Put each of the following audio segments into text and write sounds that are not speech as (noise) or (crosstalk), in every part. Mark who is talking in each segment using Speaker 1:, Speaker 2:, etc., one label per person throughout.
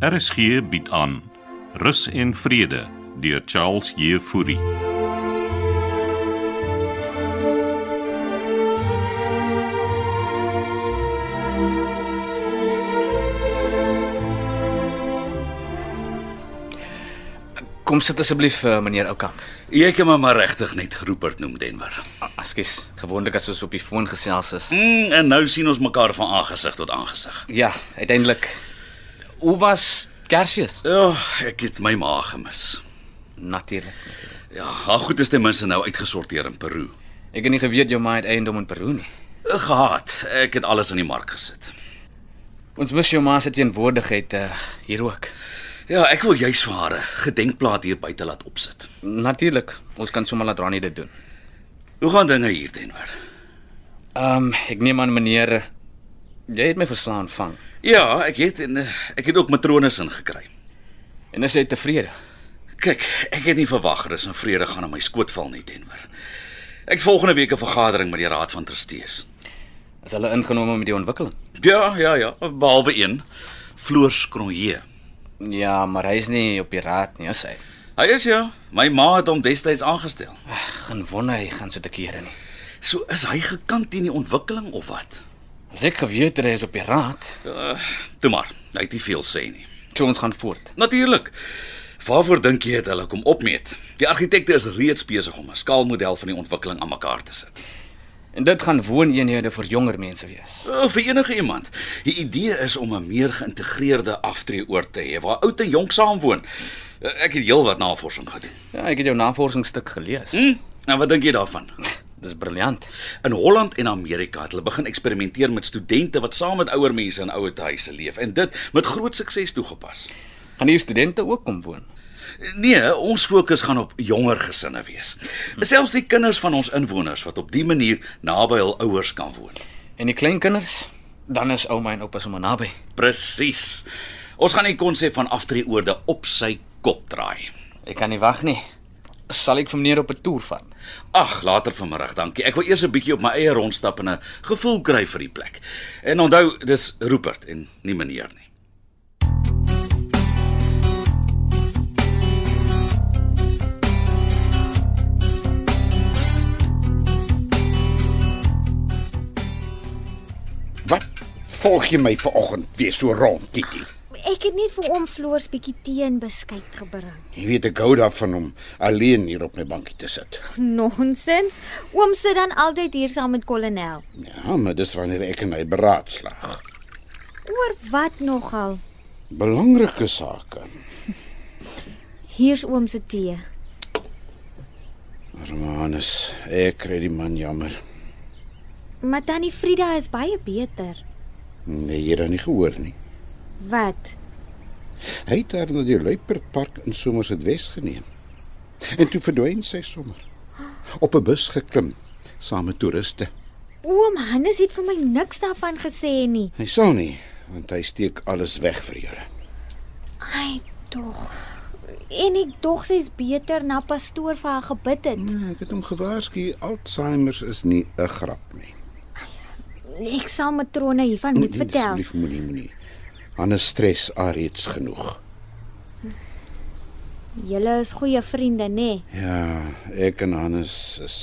Speaker 1: RSG bied aan Rus en Vrede deur Charles Jefouri.
Speaker 2: Kom sit asseblief, eh, meneer Oukamp.
Speaker 3: Jy kan my maar regtig net Rupert noem Denver.
Speaker 2: Ah, Ekskuus, gewoonlik as ons op die foon gesels is.
Speaker 3: Mm, en nou sien ons mekaar van aangesig tot aangesig.
Speaker 2: Ja, uiteindelik. Hoe was Kersfees?
Speaker 3: Ja, ek het my ma gemis.
Speaker 2: Natuurlik.
Speaker 3: Ja, haar goed is ten minste nou uitgesorteer in Peru. Eh,
Speaker 2: Ek het nie geweet jou ma het eiendom in Peru nie.
Speaker 3: Gehad. Ek het alles aan die mark gesit.
Speaker 2: Ons mis jou ma se teenwoordigheid uh, hier ook.
Speaker 3: Ja, ek wil juis vir haar 'n gedenkplaat hier buite laat opsit.
Speaker 2: Natuurlik, ons kan sommer laat Ronnie dit doen.
Speaker 3: Hoe gaan dinge hier Denver?
Speaker 2: Ehm, um, ek neem aan meneer eh, jy het my verslaan vang.
Speaker 3: Ja, ek het en eh, ek het ook matrones ingekry.
Speaker 2: En is jy tevrede?
Speaker 3: Kyk, ek het nie verwag rus en vrede gaan aan my skoot val nie Denver. Ek het volgende week 'n vergadering met die raad van trustees.
Speaker 2: Is hulle ingenome met die ontwikkeling?
Speaker 3: Ja, ja, ja, behalwe een, Floors Kronje.
Speaker 2: Ja, maar hy is nie op die raad nie, is hy?
Speaker 3: Hy is ja, my ma het hom destyds aangestel.
Speaker 2: Gaan wonder hy gaan so te kere nie.
Speaker 3: So is hy gekant teen die ontwikkeling of wat?
Speaker 2: As ek geweet het hy is op die raad,
Speaker 3: Uh, toe maar, hy het nie veel sê nie.
Speaker 2: so ons gaan voort.
Speaker 3: Natuurlik. Waarvoor dink jy het hulle kom opmeet? Die argitekte is reeds besig om 'n skaalmodel van die ontwikkeling aan mekaar te sit.
Speaker 2: En dit gaan wooneenhede vir jonger mense wees.
Speaker 3: Uh, vir enige iemand. Die idee is om 'n meer geïntegreerde aftreeoord te hê waar oud en jonk saam woon. Uh, ek het heelwat navorsing gedoen.
Speaker 2: Ja, ek het jou navorsingsstuk gelees.
Speaker 3: Hm? En wat dink jy daarvan?
Speaker 2: Dis briljant.
Speaker 3: In Holland en Amerika het hulle begin eksperimenteer met studente wat saam met ouer mense in ouer huise leef en dit met groot sukses toegepas.
Speaker 2: Gaan hier studente ook kom woon?
Speaker 3: Nee, ons fokus gaan op jonger gesinne wees. Selfs die kinders van ons inwoners wat op die manier naby hul ouers kan woon.
Speaker 2: En die kleinkinders? Dan is ouma en oupa sommer naby.
Speaker 3: Presies. Ons gaan die konsep van aftreeoorde op sy kop draai.
Speaker 2: Ek kan nie wag nie. Sal ek vir meneer op 'n toer vat?
Speaker 3: Ag, later vanmiddag, dankie. Ek wil eers 'n bietjie op my eie rondstap en 'n gevoel kry vir die plek. En onthou, dis Rupert en nie meneer nie.
Speaker 4: Wat volg jy my vanoggend weer so rond, Titi?
Speaker 5: Ek het net vir oom Floors bietjie tee en beskuit gebring.
Speaker 4: Jy weet ek hou daarvan om alleen hier op my bankie te sit.
Speaker 5: (laughs) Nonsens. Oom sit dan altyd hier saam met kolonel.
Speaker 4: Ja, maar dis wanneer ek en hy beraadslaag.
Speaker 5: Oor wat nogal?
Speaker 4: Belangrike sake.
Speaker 5: Hier's oom se tee.
Speaker 4: Romanus, ek kry die man jammer.
Speaker 5: Maar tannie Frida is baie beter.
Speaker 4: Nee, jy het dit nie gehoor nie.
Speaker 5: Wat?
Speaker 4: Hy het haar na die Luiperpark in Somers het Wes geneem. En toe verdwyn sy sommer. Op 'n bus geklim saam met toeriste.
Speaker 5: Oom Hannes het vir my niks daarvan gesê nie.
Speaker 4: Hy sal nie, want hy steek alles weg vir julle.
Speaker 5: Ai, tog. En ek dog sy's beter na pastoor vir haar gebid het.
Speaker 4: Nee, ek het hom gewaarsku, Alzheimer is nie 'n grap nie.
Speaker 5: Ek sal matrone hiervan moet
Speaker 4: Nee,
Speaker 5: vertel.
Speaker 4: Asseblief moenie moenie. Hannes stres alreeds genoeg.
Speaker 5: Julle is goeie vriende, nê? Nee?
Speaker 4: Ja, ek en Hannes is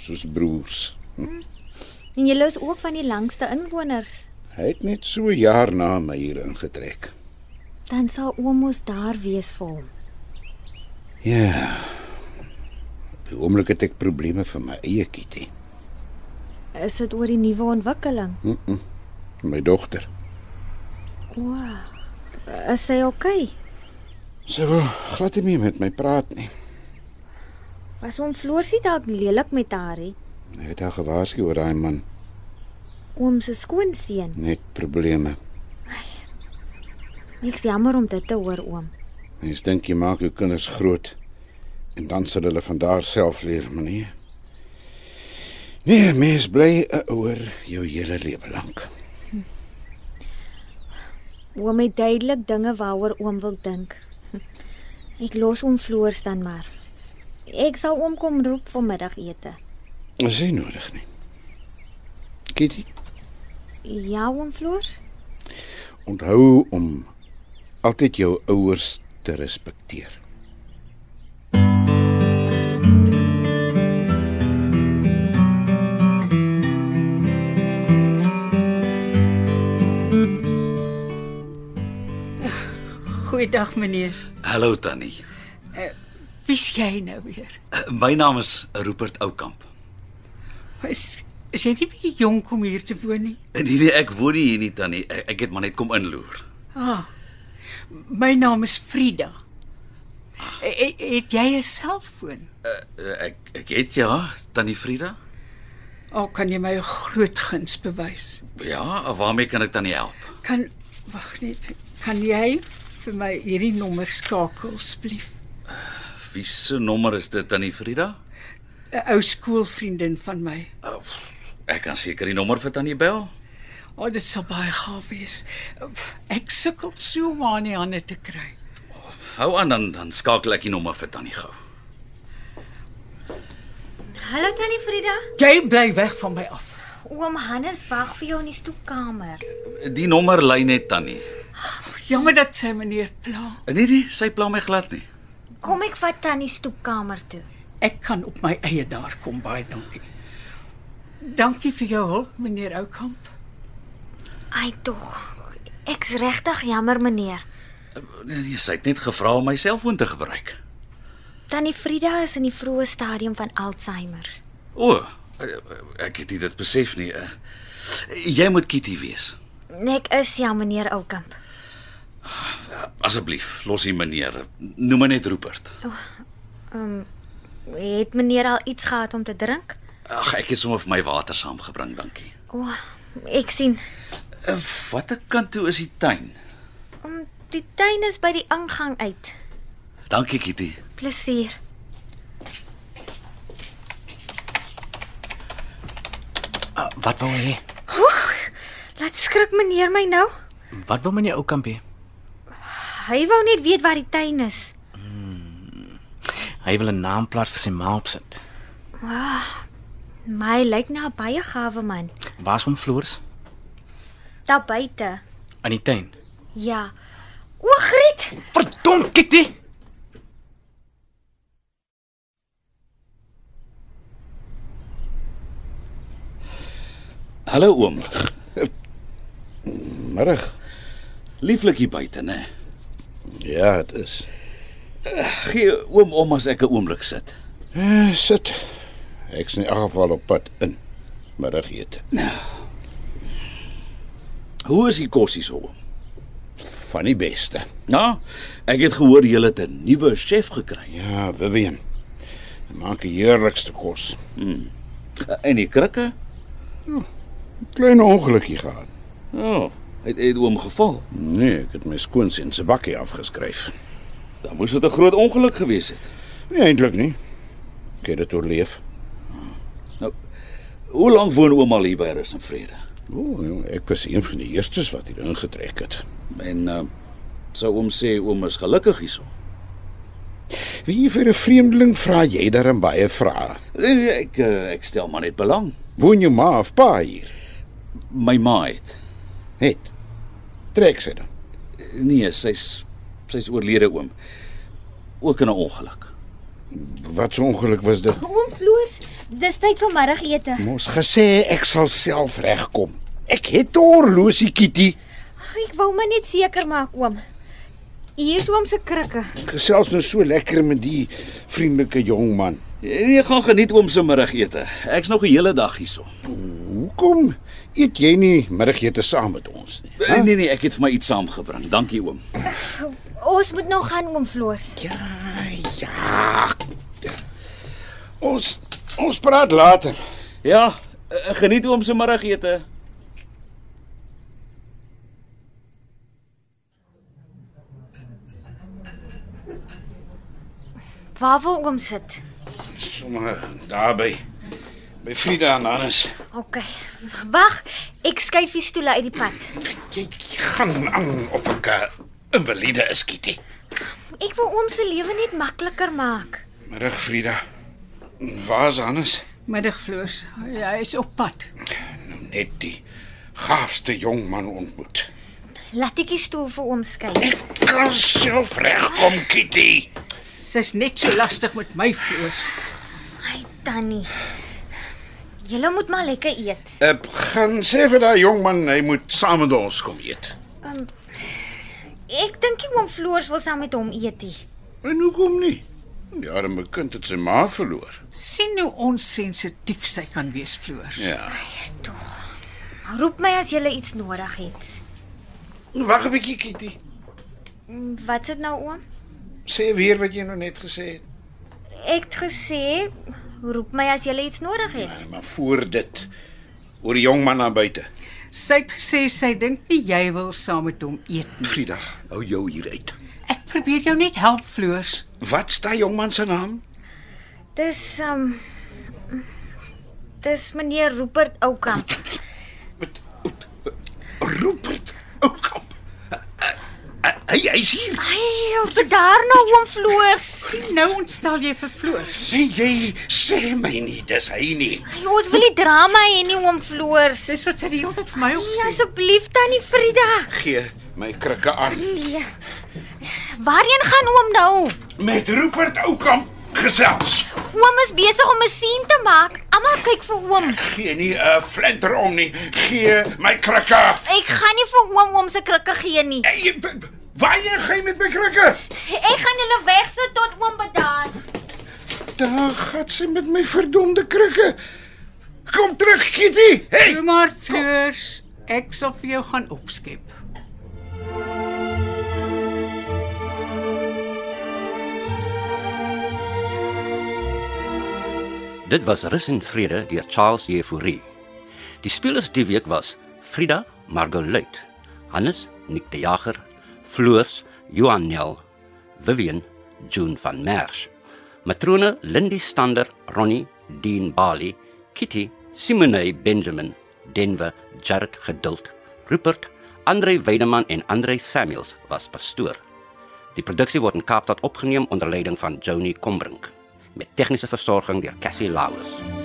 Speaker 4: soos broers.
Speaker 5: En julle is ook van die langste inwoners.
Speaker 4: Hy het net so 'n jaar na my hier ingetrek.
Speaker 5: Dan sal oom mos daar wees vir hom.
Speaker 4: Ja. Op die oomblik het ek probleme vir my eie kitty,
Speaker 5: Is dit oor die nuwe ontwikkeling?
Speaker 4: my dogter.
Speaker 5: O. Is sy oukei? Okay?
Speaker 4: Sy wil glad nie meer met my praat nie.
Speaker 5: Was oom Floorsie dalk lelik met haar? hè?
Speaker 4: Ek het haar gewaarsku oor daai man,
Speaker 5: Oom se skoonseun.
Speaker 4: net probleme.
Speaker 5: Ek's jammer om dit te hoor, oom.
Speaker 4: Mens dink jy maak jou kinders groot en dan sal hulle van daar self leer, maar nee. Nee, mens bly 'n ouer jou hele lewe lank.
Speaker 5: Oom het duidelik dinge waaroor oom wil dink. (laughs) Ek los oom Floors dan maar. Ek sal oom kom roep vir middagete.
Speaker 4: Dis nie nodig nie. Kitty,
Speaker 5: Ja, oom Floors?
Speaker 4: onthou om altyd jou ouers te respekteer.
Speaker 6: Goeiedag meneer.
Speaker 3: Hallo Tannie.
Speaker 6: Wie's jy nou weer?
Speaker 3: My naam is Rupert Oukamp.
Speaker 6: Is is jy nie bietjie jonk om hier te woon nie?
Speaker 3: En hierdie ek woon nie hier nie Tannie. Ek ek het maar net kom inloer.
Speaker 6: Ah. My naam is Frida. E, het jy 'n selfoon?
Speaker 3: Eh, Ek ek het ja, Tannie Frida.
Speaker 6: Al kan jy my 'n groot guns bewys.
Speaker 3: Ja, waarmee kan ek Tannie help?
Speaker 6: Kan wag net. Kan jy vir my hierdie nommer skakel asseblief?
Speaker 3: Wie se nommer is dit Tannie Frida?
Speaker 6: 'n Ou skoolvriendin van my.
Speaker 3: Ek kan seker die nommer vir Tannie bel.
Speaker 6: O, oh, dit sal baie gaaf wees. Ek sukkel so om haar in die hande te kry.
Speaker 3: Hou aan dan dan skakel ek die nommer vir Tannie gou.
Speaker 5: Hallo Tannie Frida.
Speaker 6: Jy bly weg van my af.
Speaker 5: Oom Hannes wag vir jou in die stoepkamer.
Speaker 3: Die nommer lei net Tannie.
Speaker 6: Jammer dat sy meneer pla.
Speaker 3: En hierdie, Eh, nee, sy pla my glad nie.
Speaker 5: Kom ek vat Tannie stoepkamer toe.
Speaker 6: Ek kan op my eie daar kom, baie dankie. Dankie vir jou hulp, meneer Oukamp.
Speaker 5: Ai tog. Ek's regtig jammer meneer.
Speaker 3: Nee, nee, sy het net gevra om my selfoon te gebruik.
Speaker 5: Tannie Frida is in die vroeë stadium van Alzheimer.
Speaker 3: O, Eh, ek het nie dit besef nie. eh. Jy moet Kitty wees.
Speaker 5: Ek is ja meneer Oukamp.
Speaker 3: Asseblief, los hier meneer. Noem my net Rupert.
Speaker 5: Het meneer al iets gehad om te drink?
Speaker 3: Ag, ek het sommer vir my water saamgebring, dankie.
Speaker 5: O, ek sien.
Speaker 3: Eh, Watter kant toe is die tuin?
Speaker 5: Om die tuin is by die ingang uit.
Speaker 3: Dankie Kitty.
Speaker 5: Plesier.
Speaker 7: Uh, wat wil hy?
Speaker 5: Laat skrik meneer my nou.
Speaker 7: Wat wil meneer Oukamp hê?
Speaker 5: Hy wou net weet waar die tuin is.
Speaker 7: Hy wil 'n naamplaat vir sy ma opsit.
Speaker 5: My lyk na 'n baie gawe man.
Speaker 7: Waar's hom floors?
Speaker 5: Daar buite.
Speaker 7: In die tuin.
Speaker 5: Ja. O, Griet.
Speaker 7: Verdom, Kitty.
Speaker 3: Hallo oom.
Speaker 4: Middag.
Speaker 3: Lieflik hier buite, né?
Speaker 4: Ja, dit is.
Speaker 3: Gee oom om as ek 'n oomblik sit.
Speaker 4: Uh, sit. Ek's in elk geval op pad in. Middagete.
Speaker 3: Hoe is die kos hier so oom?
Speaker 4: Van die beste.
Speaker 3: Ja, ek het gehoor jy het 'n nuwe chef gekry.
Speaker 4: Ja, Vivian. Hy Maak die heerlikste kos.
Speaker 3: Eh, En die krikke?
Speaker 4: Klein ongelukkie gehad.
Speaker 3: O, oh, het het oom geval.
Speaker 4: Nee, ek het my skoonseun se bakkie afgeskryf.
Speaker 3: Dan moes dit 'n groot ongeluk gewees het.
Speaker 4: Nee, eintlik nie. Ek het dit oorleef.
Speaker 3: Hoe lank woon oom al hier by Rus en Vrede?
Speaker 4: O, jong, ek was een van die eerstes wat hier ingetrek het.
Speaker 3: En uh, sou oom sê oom is gelukkig hierso.
Speaker 4: Wie vir 'n vreemdeling vra jy daarin baie vrae?
Speaker 3: Eh, Ek uh, ek stel maar net belang.
Speaker 4: Woon jou ma of pa hier?
Speaker 3: My ma het.
Speaker 4: Het. Trek sy dan.
Speaker 3: Nee, sy's sy's oorlede oom. Ook in 'n ongeluk.
Speaker 4: Wat 'n ongeluk was dit?
Speaker 5: Oom Floors, dis tyd vir middagete.
Speaker 4: Mos gesê ek sal self regkom. Ek het 'n horlosie kitty.
Speaker 5: Ag, ek wou maar net seker maak, oom. Hier is oom se krikke.
Speaker 4: Ek Gesels nou so lekker met die vriendelike jong man.
Speaker 3: Jy Nee, gaan geniet oom se middagete. Ek's nog 'n hele dag hierso.
Speaker 4: Hoekom eet jy nie middagete saam met ons nie?
Speaker 3: Huh? Nee nee, ek het vir my iets saamgebring. Dankie oom.
Speaker 5: Ons moet nou gaan, oom Floors.
Speaker 4: Ja. Ons ons praat later.
Speaker 3: Ja, eh, geniet oom se middagete.
Speaker 5: Waar wil oom sit?
Speaker 4: Sommige daarby by Frida en Hannes.
Speaker 5: OK. Wag, ek skuif die stoele uit die pad.
Speaker 4: Jy gaan aan of ek 'n invalide is, Kitty.
Speaker 5: Ek wil oom se lewe net makliker maak.
Speaker 4: Middag, Frida. Waar's Hannes?
Speaker 6: Middagfloors, hy is op pad.
Speaker 4: Nou Net die gaafste jong man ontmoet.
Speaker 5: Lattetjie stoel vir oom skuif.
Speaker 3: Kan self regkom, Kitty.
Speaker 6: Sy's net so lastig met my floors.
Speaker 5: Ai tannie. Julle moet maar lekker eet.
Speaker 4: Ek gaan sê vir daai jong man hy moet saam met ons kom eet.
Speaker 5: Ek dink nie oom Floors wil saam met hom eet nie.
Speaker 4: En hoekom nie? Die arme kind het sy ma verloor.
Speaker 6: sien hoe onsensitief sy kan wees floors.
Speaker 4: Ja.
Speaker 5: Roep my as jy iets nodig het.
Speaker 4: Wag 'n bietjie, Kitty.
Speaker 5: Mm, Wat sit nou oom?
Speaker 4: Sê weer wat jy nou net gesê het.
Speaker 5: Ek het gesê roep my as jy iets nodig het.
Speaker 4: Nee, Maar voor dit oor die jong man daar buite.
Speaker 6: Sy het gesê sy dink nie jy wil saam met hom eet nie.
Speaker 4: Frida, hou jou hier uit.
Speaker 6: Ek probeer jou net help floors.
Speaker 4: Wat is daai jong man se naam?
Speaker 5: Dis um Dis meneer Rupert Oukamp.
Speaker 4: eh, Rupert Oukamp. eh, Hy hy's hier.
Speaker 5: Ai, bedaar nou oom Floors.
Speaker 6: Sien nou ontstel jy vir floors.
Speaker 4: Nee, jy sê my nie, dis hy nie.
Speaker 5: Ai, ons wil nie drama hê nie oom Floors.
Speaker 6: Dis wat sy die hele tyd vir my
Speaker 5: Nee,
Speaker 6: opsê.
Speaker 5: asseblief tannie Frida.
Speaker 4: Gee my krikke aan.
Speaker 5: Nee. Waarheen gaan oom nou?
Speaker 4: Met Rupert Oukamp gesels.
Speaker 5: Oom is besig om 'n sien te maak. Almal kyk vir oom.
Speaker 4: Gee nie 'n flinter om nie. Gee my krikke.
Speaker 5: Ek gaan nie vir oom oom se krikke gee nie.
Speaker 4: Hey, b- b- Waarheen gaan jy met my krikke?
Speaker 5: Ek gaan hulle wegsit tot oom bedaar.
Speaker 4: Daar gaan sy met my verdomde krikke. Kom terug, Kitty. Hey.
Speaker 6: Toe maar floors, ek sal vir jou gaan opskep.
Speaker 8: Dit was Rus en Vrede deur Charles Jefouri. Die spelers die week was Frida Margolite, Hannes Nick de Jager, Floors Johan Nel, Vivian June van Merch, matrone Lindy Stander, Ronnie Dean Bali, Kitty Simone Benjamin, Denver Jared Geduld, Rupert Andre Weideman en Andre Samuels was pastoor. Die produksie word in Kaapstad opgeneem onder leiding van Johnny Combrink met tegniese versorging deur Cassie Lauers.